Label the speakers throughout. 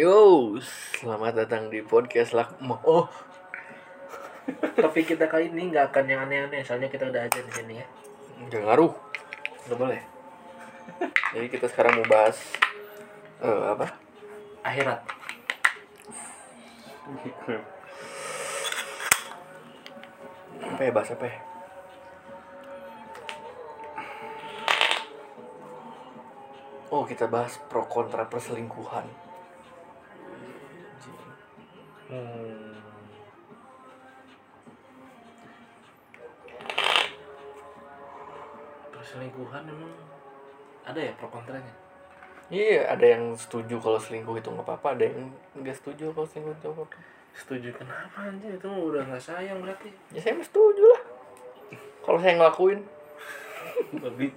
Speaker 1: Yo, selamat datang di podcast Lakmo. Oh,
Speaker 2: Tapi kita kali ini nggak akan yang aneh-aneh, soalnya kita udah aja di sini ya.
Speaker 1: nggak ngaruh.
Speaker 2: Nggak boleh.
Speaker 1: Jadi kita sekarang mau bahas eh, apa?
Speaker 2: Akhirat.
Speaker 1: Apa ya bahas apa ya? Oh, kita bahas pro kontra perselingkuhan.
Speaker 2: Hmm. Perselingkuhan emang ada ya pro kontranya?
Speaker 1: Iya, ada yang setuju kalau selingkuh itu nggak apa-apa, ada yang nggak setuju kalau selingkuh itu nggak apa-apa.
Speaker 2: Setuju kenapa anjir itu mah udah nggak sayang berarti.
Speaker 1: Ya saya mah setuju lah. Kalau saya ngelakuin,
Speaker 2: Babi.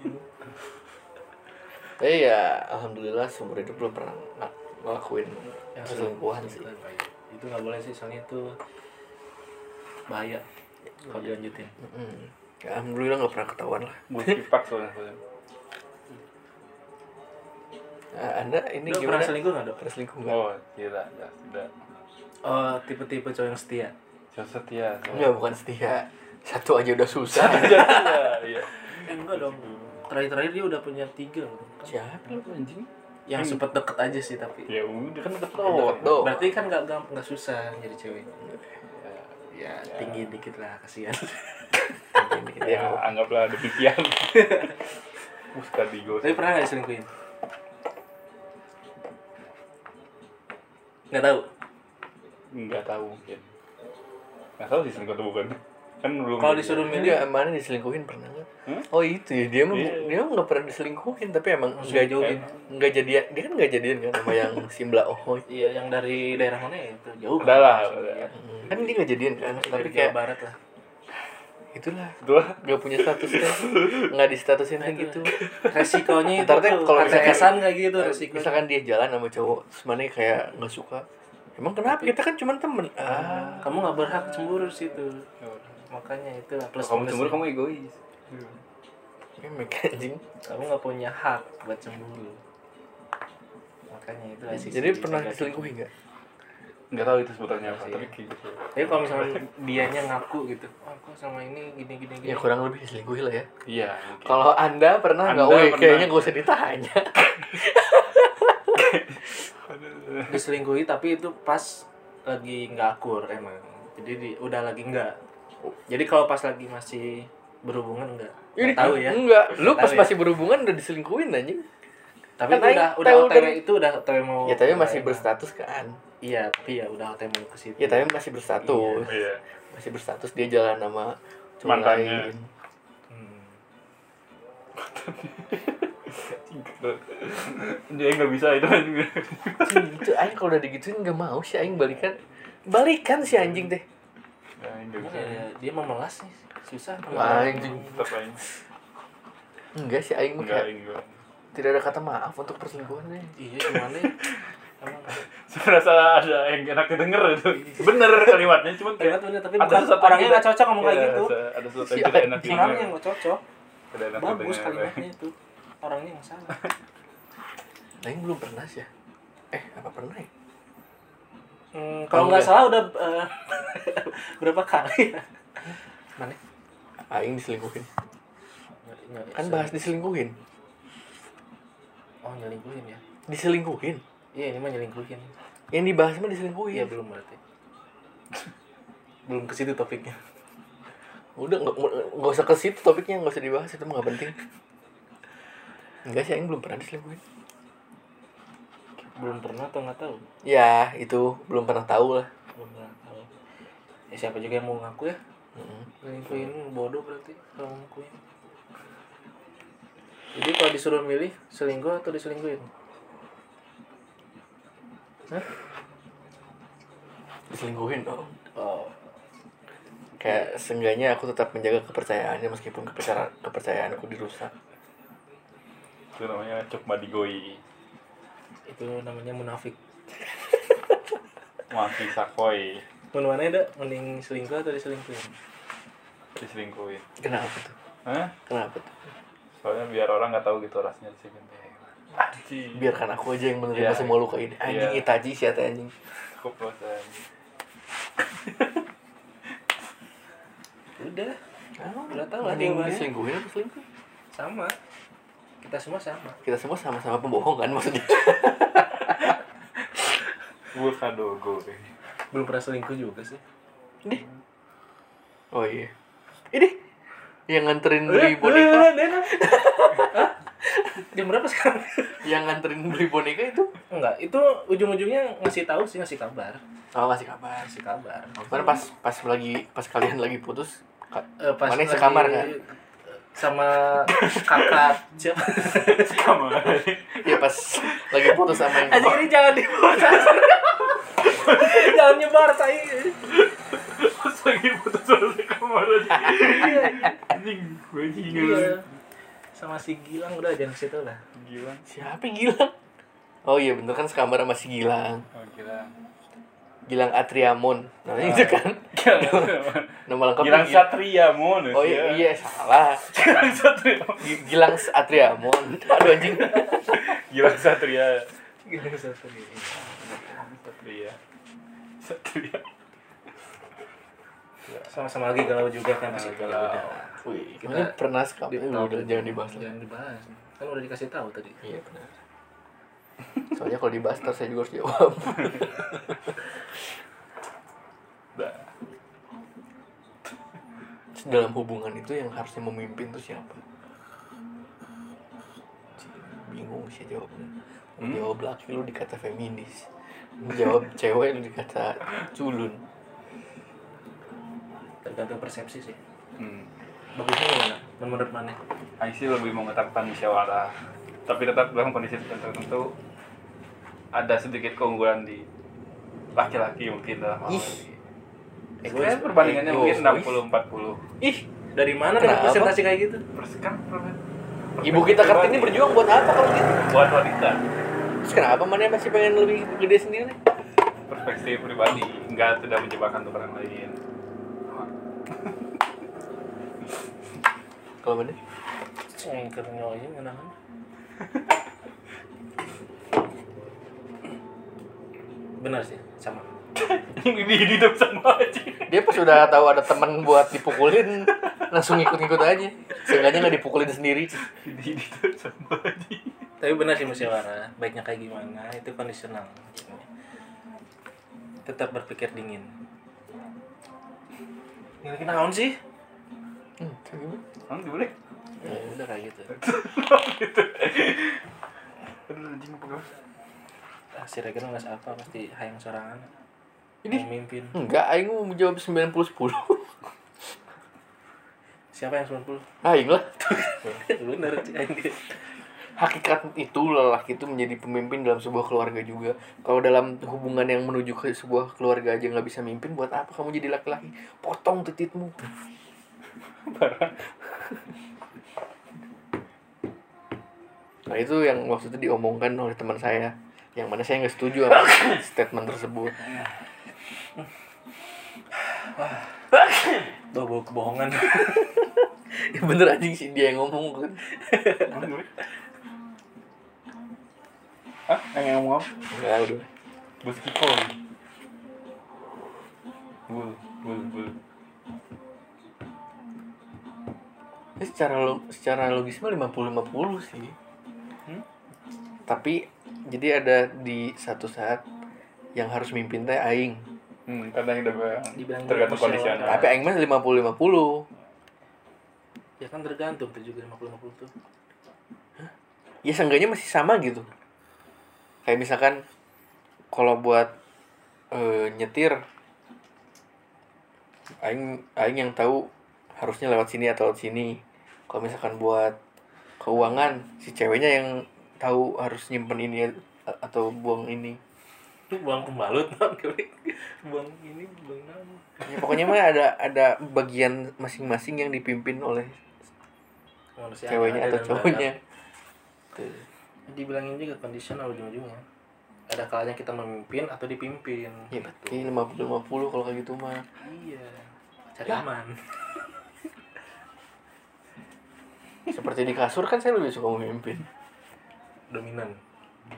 Speaker 1: Eh ya, alhamdulillah seumur hidup belum pernah ng- ngelakuin
Speaker 2: Ya,
Speaker 1: perselingkuhan sih.
Speaker 2: Itu nggak boleh sih soalnya itu bahaya kalau dilanjutin.
Speaker 1: Mm. Ya, alhamdulillah nggak pernah ketahuan lah.
Speaker 3: Bus pipak soalnya.
Speaker 1: Nah, anda ini
Speaker 2: Lu
Speaker 1: gimana?
Speaker 2: pernah selingkuh nggak dok?
Speaker 1: Perselingkuh nggak?
Speaker 3: Oh, tidak, ya, tidak.
Speaker 2: Oh, tipe-tipe cowok yang setia.
Speaker 3: Yang setia.
Speaker 1: Enggak, bukan setia. Satu aja udah susah.
Speaker 3: Iya, iya.
Speaker 2: Eh, enggak dong. Terakhir-terakhir dia udah punya tiga.
Speaker 1: Siapa lu anjing?
Speaker 2: Yang sempet deket aja sih tapi.
Speaker 3: Ya udah kan
Speaker 1: Deket
Speaker 3: ketahuan.
Speaker 1: doang.
Speaker 2: Berarti kan nggak gamp- nggak susah jadi cewek. Ya,
Speaker 3: Ya,
Speaker 2: tinggi dikit lah kasihan.
Speaker 1: Ini kita
Speaker 3: ya,
Speaker 1: yang-
Speaker 3: anggaplah demikian. Bus tadi gue.
Speaker 2: tapi pernah nggak diselingkuhin? Nggak tahu.
Speaker 3: Enggak tahu mungkin. Enggak tahu sih selingkuh atau bukan. Kan belum.
Speaker 2: Kalau disuruh milih
Speaker 1: Enggak, mana diselingkuhin pernah nggak?
Speaker 3: Hmm?
Speaker 1: Oh itu ya, dia mah
Speaker 3: Iya.
Speaker 1: dia mah nggak pernah diselingkuhin tapi emang
Speaker 2: langsung
Speaker 1: nggak
Speaker 2: jauhin.
Speaker 1: nggak jadian dia kan nggak jadian kan sama yang Simbla Oh
Speaker 2: Iya, yang dari daerah mana ya itu jauh.
Speaker 3: Udah lah,
Speaker 2: Langsung
Speaker 3: udah.
Speaker 2: dia.
Speaker 1: kan dia nggak jadian kan tapi
Speaker 2: Dari Jawa
Speaker 1: kayak
Speaker 2: barat lah.
Speaker 1: itulah
Speaker 3: Itulah.
Speaker 1: nggak punya status kan nggak di statusin kayak gitu
Speaker 2: Resikonya itu
Speaker 1: Ntar teh
Speaker 2: tuh,
Speaker 1: kalau misalkan-
Speaker 2: kesan kayak gitu resikonya.
Speaker 1: misalkan dia jalan sama cowok sebenarnya kayak nggak suka emang kenapa kita kan cuma temen ah
Speaker 2: kamu nggak berhak cemburu di situ. Makanya itu lah plus
Speaker 3: Kalau kamu
Speaker 2: minusnya.
Speaker 3: cemburu kamu egois.
Speaker 1: memek anjing
Speaker 2: kamu nggak punya hak buat cemburu makanya itu lah sisi
Speaker 1: jadi pernah
Speaker 2: negatif.
Speaker 1: diselingkuhi nggak
Speaker 3: Enggak tahu itu sebutannya apa,
Speaker 2: Iya.
Speaker 3: tapi kayak gitu.
Speaker 2: tapi kalau misalnya dianya ngaku gitu oh, aku sama ini gini gini gini
Speaker 1: ya kurang lebih diselingkuhi lah ya
Speaker 3: Iya. mungkin.
Speaker 1: kalau anda pernah nggak
Speaker 3: Anda
Speaker 1: Woi,
Speaker 3: pernah.
Speaker 1: kayaknya gak usah ditanya
Speaker 3: Aduh.
Speaker 2: diselingkuhi tapi itu pas lagi nggak akur emang jadi di- udah lagi nggak jadi kalau pas lagi masih berhubungan nggak
Speaker 1: Ini
Speaker 2: nggak tahu ya
Speaker 1: enggak lu
Speaker 2: Nggak
Speaker 1: pas
Speaker 2: tahu ya.
Speaker 1: masih berhubungan udah diselingkuhin anjing
Speaker 2: tapi
Speaker 1: Kan
Speaker 2: itu
Speaker 1: Aing
Speaker 2: udah udah
Speaker 1: tahu
Speaker 2: otw
Speaker 1: dari-
Speaker 2: itu udah otw mau
Speaker 1: ya tapi masih
Speaker 2: mulai.
Speaker 1: berstatus kan
Speaker 2: iya tapi ya udah otw mau ke situ
Speaker 1: ya tapi masih berstatus
Speaker 3: Iya.
Speaker 1: masih berstatus dia jalan sama cowok
Speaker 3: Mantannya.
Speaker 1: lain.
Speaker 2: Hmm.
Speaker 3: Dia enggak bisa itu anjing.
Speaker 1: Anjing, gitu aing kalau udah digituin nggak mau sih aing balikan balikan si anjing deh
Speaker 3: Ya, enggak
Speaker 2: Emang
Speaker 3: bisa.
Speaker 2: ya, dia memelas nih susah
Speaker 1: Anjing.
Speaker 3: Tetap aja.
Speaker 1: enggak sih aing mah
Speaker 3: Enggak,
Speaker 1: kayak
Speaker 3: enggak.
Speaker 1: tidak ada kata maaf untuk perselingkuhan eh. deh
Speaker 2: iya gimana ya? emang
Speaker 3: Serasa ada yang enak denger itu. Bener kalimatnya, cuman kayak
Speaker 2: Ternyata bener, tapi
Speaker 3: ada
Speaker 2: bukan
Speaker 3: sesuatu yang
Speaker 2: orangnya
Speaker 3: tidak-
Speaker 2: nggak cocok ngomong kayak
Speaker 3: Iya,
Speaker 2: gitu.
Speaker 3: ada- Ada sesuatu yang tidak enak didengar.
Speaker 2: Orangnya nggak cocok,
Speaker 3: Tidak enak
Speaker 2: bagus
Speaker 3: didengar.
Speaker 2: kalimatnya itu. Orangnya nggak salah.
Speaker 1: Aing belum pernah sih ya. Eh, apa pernah ya?
Speaker 2: Hmm, kalau nggak
Speaker 1: Oke.
Speaker 2: salah udah eh, berapa kali? ya? Mana?
Speaker 1: Aing diselingkuhin. Kan bahas diselingkuhin.
Speaker 2: Oh nyelingkuhin ya?
Speaker 1: Diselingkuhin.
Speaker 2: Iya ini mah nyelingkuhin.
Speaker 1: Yang dibahas mah
Speaker 2: Iya
Speaker 1: diselingkuhin.
Speaker 2: belum berarti. belum ke situ topiknya.
Speaker 1: Udah nggak nggak usah ke situ topiknya, nggak usah dibahas itu mah nggak penting. Enggak sih, Aing belum pernah diselingkuhin.
Speaker 2: Belum pernah atau nggak tahu?
Speaker 1: Ya, itu belum pernah tahu lah.
Speaker 2: Belum pernah tahu. Ya, siapa juga yang mau ngaku ya?
Speaker 1: Mm-mm.
Speaker 2: Selingkuhin bodoh berarti kalau ngakuin. Jadi kalau disuruh milih selingkuh atau diselingkuhin? Hah?
Speaker 1: Diselingkuhin dong.
Speaker 2: Oh.
Speaker 1: Kayak seenggaknya aku tetap menjaga kepercayaannya meskipun kepercayaan kepercayaanku dirusak.
Speaker 3: Itu namanya cuk madigoi.
Speaker 2: Itu namanya munafik.
Speaker 3: Masih sakoi
Speaker 2: Mun mana ada mending selingkuh atau diselingkuhin?
Speaker 3: diselingkuhin.
Speaker 1: Kenapa tuh?
Speaker 3: Hah?
Speaker 1: Kenapa tuh?
Speaker 3: Soalnya biar orang nggak tahu gitu rasanya diselingkuhin. Anjing.
Speaker 1: biarkan aku aja yang menerima
Speaker 2: Ya.
Speaker 3: Iya.
Speaker 1: semua luka ini anjing
Speaker 3: Iya.
Speaker 1: itaji sih atau anjing
Speaker 3: Kepuasan.
Speaker 2: udah
Speaker 1: nggak
Speaker 2: Ah, nggak tahu lah
Speaker 1: yang
Speaker 2: jawabannya.
Speaker 1: diselingkuhin apa selingkuh
Speaker 2: sama kita semua sama
Speaker 1: kita semua sama-sama pembohong kan maksudnya
Speaker 3: Gue kado gue.
Speaker 2: belum pernah selingkuh juga sih
Speaker 1: ini oh iya ini yang nganterin beli
Speaker 2: Eh,
Speaker 1: boneka
Speaker 2: eh, Dena. Hah? jam berapa sekarang
Speaker 1: yang nganterin beli boneka itu
Speaker 2: enggak itu ujung-ujungnya ngasih tahu sih ngasih kabar
Speaker 1: oh ngasih kabar
Speaker 2: ngasih kabar
Speaker 1: Mana pas pas lagi pas kalian lagi putus ka-
Speaker 2: Eh, pas
Speaker 1: Mana yang
Speaker 2: lagi
Speaker 1: sekamar, kan?
Speaker 2: sama kakak siapa
Speaker 3: Sama.
Speaker 1: ya pas lagi putus sama yang
Speaker 2: Anjing ini jangan dibuat jangan nyebar tai
Speaker 3: Pas lagi putus sama kamar aja. Anjing. Gue
Speaker 2: Iya.
Speaker 3: gila.
Speaker 2: sama si Gilang udah jangan ke situ lah
Speaker 3: Gila.
Speaker 1: siapa Gilang oh iya bener kan sekamar sama si Gilang
Speaker 3: Oh gila.
Speaker 1: Gilang Atriamon namanya itu kan nama lengkapnya
Speaker 3: Gilang Satria mon.
Speaker 1: oh iya, iya salah
Speaker 3: Gilang Satria.
Speaker 1: Gi- Gilang Atriamon aduh anjing
Speaker 3: Gilang Satria.
Speaker 2: Gilang satu ini
Speaker 3: Satria. Satria.
Speaker 2: sama-sama lagi galau juga kan masih
Speaker 3: Galau.
Speaker 2: galau
Speaker 1: Wih, ini pernah sekali udah jangan dibahas lagi
Speaker 2: jangan dibahas kan udah dikasih tahu tadi
Speaker 1: iya benar soalnya kalau dibahas ntar saya juga harus jawab
Speaker 3: Dah.
Speaker 1: dalam hubungan itu yang harusnya memimpin tuh siapa bingung sih jawabnya Lu jawab laki lu dikata feminis Lu jawab cewek lu dikata culun
Speaker 2: tergantung persepsi sih
Speaker 3: Hmm.
Speaker 2: bagusnya gimana menurut mana
Speaker 3: Aing sih lebih mengutarakan musyawarah, tapi tetap dalam kondisi tertentu ada sedikit keunggulan di laki-laki mungkin dalam hal
Speaker 1: Ih.
Speaker 3: ini.
Speaker 1: Egois.
Speaker 3: Kan perbandingannya
Speaker 1: Egois.
Speaker 3: mungkin 60-40
Speaker 2: ih dari mana
Speaker 1: Kenapa?
Speaker 2: dapat presentasi kayak gitu
Speaker 3: Terus kan per-
Speaker 1: ibu kita kartini berjuang buat apa kalau gitu
Speaker 3: buat wanita
Speaker 1: terus kenapa mana masih pengen lebih gede sendiri
Speaker 3: perspektif pribadi nggak tidak menjebakan untuk orang lain
Speaker 1: kalau mana
Speaker 2: cengkernya aja mana benar sih sama
Speaker 3: ini hidup sama aja
Speaker 1: dia pas udah tahu ada teman buat dipukulin langsung ngikut-ngikut aja seenggaknya nggak dipukulin sendiri
Speaker 3: ini hidup sama aja
Speaker 2: tapi benar sih musyawarah baiknya kayak gimana itu kondisional tetap berpikir dingin ini naon sih
Speaker 1: hmm, kayak gimana?
Speaker 3: Emang boleh?
Speaker 1: ya udah kayak gitu
Speaker 3: Aduh, anjing apa gua?
Speaker 2: ah, si Regan nggak apa pasti hayang sorangan
Speaker 1: Ini-
Speaker 2: memimpin
Speaker 1: enggak aing mau jawab 90 10
Speaker 2: siapa yang 90?
Speaker 1: aing lah
Speaker 2: bener anjir.
Speaker 1: hakikat itu lelaki itu menjadi pemimpin dalam sebuah keluarga juga kalau dalam hubungan yang menuju ke sebuah keluarga aja nggak bisa mimpin buat apa kamu jadi laki-laki potong titikmu nah itu yang waktu itu diomongkan oleh teman saya yang mana saya nggak setuju sama statement tersebut
Speaker 2: Tuh bawa kebohongan
Speaker 1: ya bener anjing sih dia yang ngomong kan
Speaker 3: Emang boleh? Hah? Yang ngomong apa?
Speaker 1: nggak udah
Speaker 3: Bus kipon. Bul, bul, bul.
Speaker 1: Ini Eh, secara lo- secara logis mah 50-50 sih.
Speaker 3: Hmm?
Speaker 1: Tapi jadi ada di satu saat yang harus mimpin teh aing.
Speaker 3: Hmm, karena yang udah bilang
Speaker 2: Dibilang
Speaker 3: tergantung
Speaker 2: bermusyawarah.
Speaker 3: kondisi anda.
Speaker 1: Tapi aing mah 50-50.
Speaker 2: ya kan tergantung tuh juga 50 50 tuh
Speaker 1: Ya seenggaknya masih sama gitu. Kayak misalkan kalau buat eh, nyetir aing aing yang tahu harusnya lewat sini atau lewat sini. Kalau misalkan buat keuangan si ceweknya yang tahu harus nyimpen ini a- atau buang ini.
Speaker 2: lu buang pembalut non buang ini buang nama
Speaker 1: Ya, pokoknya mah ada ada bagian masing-masing yang dipimpin oleh
Speaker 2: Manusia
Speaker 1: ceweknya atau
Speaker 2: ada dan
Speaker 1: cowoknya. Tuh.
Speaker 2: ada. dibilangin juga kondisional ujung-ujungnya ada kalanya kita memimpin atau dipimpin Gitu.
Speaker 1: Ya berarti 50-50 kalau kayak gitu mah.
Speaker 2: iya cari
Speaker 1: Lah.
Speaker 2: aman
Speaker 1: Seperti di kasur kan saya lebih suka memimpin.
Speaker 2: dominan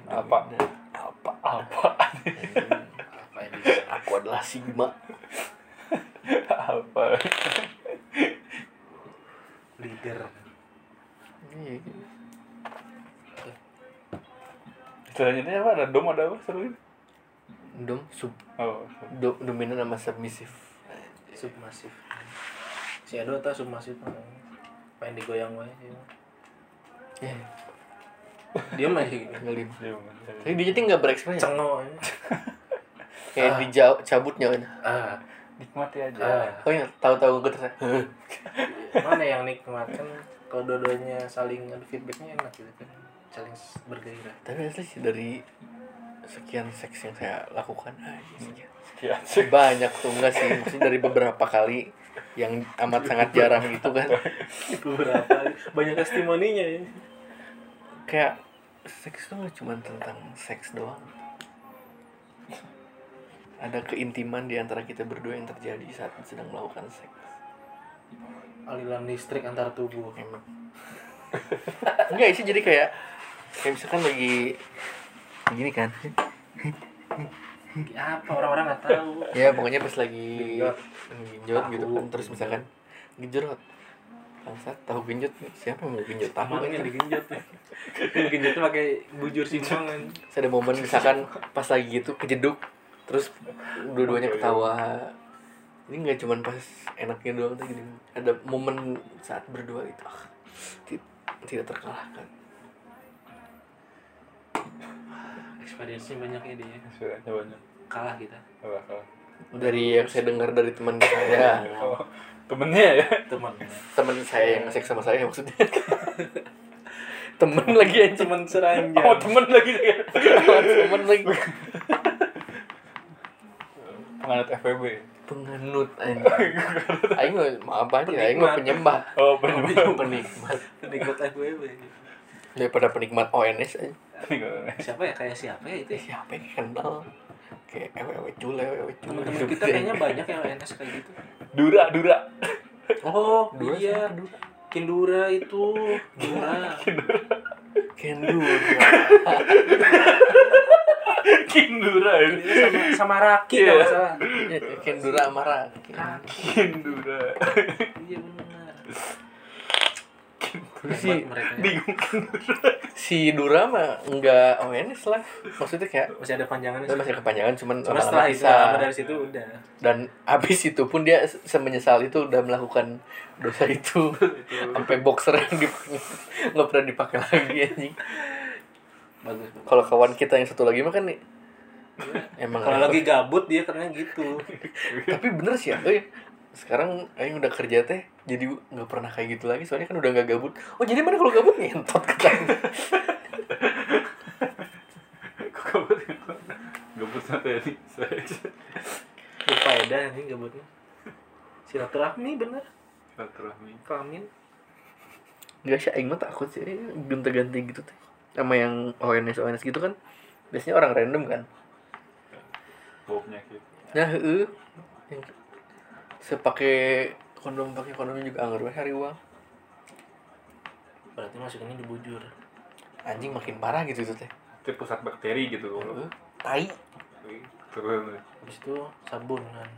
Speaker 3: apa
Speaker 1: Nah, apa
Speaker 3: apa
Speaker 2: apa ini
Speaker 1: aku adalah sigma
Speaker 3: apa
Speaker 2: leader
Speaker 1: Iya.
Speaker 3: selanjutnya apa ada dom ada apa seru ini?
Speaker 1: dom sub
Speaker 3: oh
Speaker 1: do, dominan sama submisif
Speaker 2: submasif si Edo tuh submasif main digoyang wae sih.
Speaker 1: ya
Speaker 2: dia mah kayak gini.
Speaker 1: ngelim
Speaker 3: dia
Speaker 1: tapi dia jadi nggak bereksperimen ya?
Speaker 2: cengo ini.
Speaker 1: kayak
Speaker 2: Ah.
Speaker 1: dicabut nyawanya
Speaker 2: ah
Speaker 3: nikmati aja
Speaker 2: ah
Speaker 1: oh iya tahu-tahu gue terus
Speaker 2: mana yang nikmat kan kalau dua-duanya saling ada feedbacknya enak gitu kan saling s- bergairah
Speaker 1: tapi asli sih dari sekian seks yang saya lakukan aja sekian
Speaker 3: sekian sih
Speaker 1: banyak tuh enggak sih maksudnya dari beberapa kali yang amat sangat jarang gitu kan
Speaker 2: beberapa banyak testimoninya ya
Speaker 1: kayak seks tuh nggak cuma tentang seks doang ada keintiman di antara kita berdua yang terjadi saat sedang melakukan seks
Speaker 2: aliran listrik antar tubuh
Speaker 1: emang enggak sih jadi kayak kayak misalkan lagi begini kan
Speaker 2: apa orang-orang nggak tahu
Speaker 1: ya pokoknya pas lagi
Speaker 2: Genjot.
Speaker 1: genjot gitu
Speaker 2: Tahu.
Speaker 1: kan terus misalkan genjot bangsat tahu genjot siapa yang mau genjot tahu
Speaker 2: Kemarin yang
Speaker 1: kan
Speaker 2: digenjot ya. Yang digenjot tuh pakai bujur simpangan.
Speaker 1: Terus ada momen misalkan pas lagi gitu kejeduk terus dua-duanya ketawa ini nggak cuman pas enaknya doang tuh gini ada momen saat berdua itu ah, ti- tidak terkalahkan
Speaker 2: Experience-nya banyak ya dia.
Speaker 3: sekiannya banyak
Speaker 2: Kalah kita.
Speaker 3: Apa, apa.
Speaker 1: dari yang saya dengar dari teman saya
Speaker 3: Oh, temennya ya
Speaker 2: Teman.
Speaker 1: teman saya yang seks sama saya maksudnya temen lagi aja
Speaker 2: Ya, Teman seranja.
Speaker 3: oh temen lagi dia.
Speaker 1: temen lagi
Speaker 3: penganut FVB
Speaker 1: penganut anjing aing mah maaf aja aing mah penyembah
Speaker 3: oh benar
Speaker 1: penikmat
Speaker 2: Penikmat FWB.
Speaker 1: daripada penikmat ONS aja
Speaker 2: Siapa ya kayak siapa ya
Speaker 1: Eh,
Speaker 2: itu? ya?
Speaker 1: siapa yang kenal kayak ewe-ewe cule ewe-ewe cule
Speaker 2: Teman-teman Iya, kita kayaknya banyak yang NS kayak gitu.
Speaker 3: dura dura
Speaker 2: Oh,
Speaker 1: Dura
Speaker 2: iya.
Speaker 1: siapa? Dura.
Speaker 2: Kindura itu. Dura.
Speaker 1: kendura
Speaker 2: Iya,
Speaker 3: kindura ini
Speaker 2: Sama, sama Raki kalau nggak salah.
Speaker 1: Ya, kendura sama Raki
Speaker 3: kindura
Speaker 2: Iya benar.
Speaker 1: Terus si,
Speaker 2: Hebat mereka ya.
Speaker 3: bingung kindura
Speaker 1: si Dura mah enggak ONS lah maksudnya kayak
Speaker 2: Masih ada panjangannya.
Speaker 1: dia masih kepanjangan cuman
Speaker 2: Cuma
Speaker 1: lama-lama
Speaker 2: setelah itu
Speaker 1: bisa.
Speaker 2: lama dari situ udah.
Speaker 1: dan habis itu pun dia se- semenyesal itu udah melakukan dosa itu sampai boxer yang dipakai nggak pernah dipakai lagi anjing
Speaker 2: Bagus.
Speaker 1: kalau kawan kita yang satu lagi mah kan nih, emang
Speaker 2: Iya. Kalau lagi gabut dia karena gitu.
Speaker 1: tapi bener sih ya eh, sekarang Aing udah kerja teh jadi nggak pernah kayak gitu lagi soalnya kan udah nggak gabut oh jadi mana kalau gabut ngentot kata
Speaker 3: kok kabur itu gabut santai ya, ini saya
Speaker 2: berfaedah ini gabutnya silaturahmi bener
Speaker 3: silaturahmi
Speaker 2: kelamin
Speaker 1: nggak sih Aing mah takut sih gonta ganti gitu teh sama yang ONS ONS gitu kan biasanya orang random kan
Speaker 3: bobnya gitu
Speaker 1: nah heeh yang sepake kondom pakai kondom juga anggar we hari uang
Speaker 2: berarti masukinnya dibujur
Speaker 1: anjing makin parah gitu tuh teh
Speaker 3: itu pusat bakteri gitu
Speaker 1: Heeh. tai
Speaker 3: turun
Speaker 2: habis itu sabun kan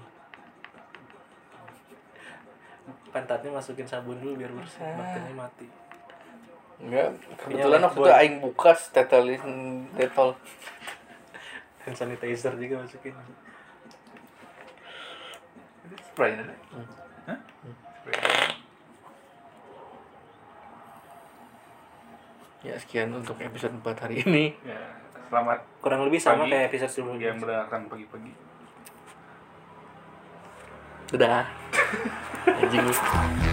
Speaker 2: pantatnya masukin sabun dulu biar bersih
Speaker 1: Ah.
Speaker 2: bakterinya mati
Speaker 1: Enggak, kebetulan waktu itu Aing buka tetelin tetol
Speaker 2: hand sanitizer juga masukin
Speaker 3: spray nanti Hah? Spray.
Speaker 1: Ya sekian untuk episode 4 hari ini
Speaker 3: ya selamat
Speaker 2: kurang lebih sama
Speaker 3: Pagi.
Speaker 2: kayak episode sebelumnya
Speaker 3: yang mendengarkan pagi-pagi
Speaker 1: Dadah Anjing lu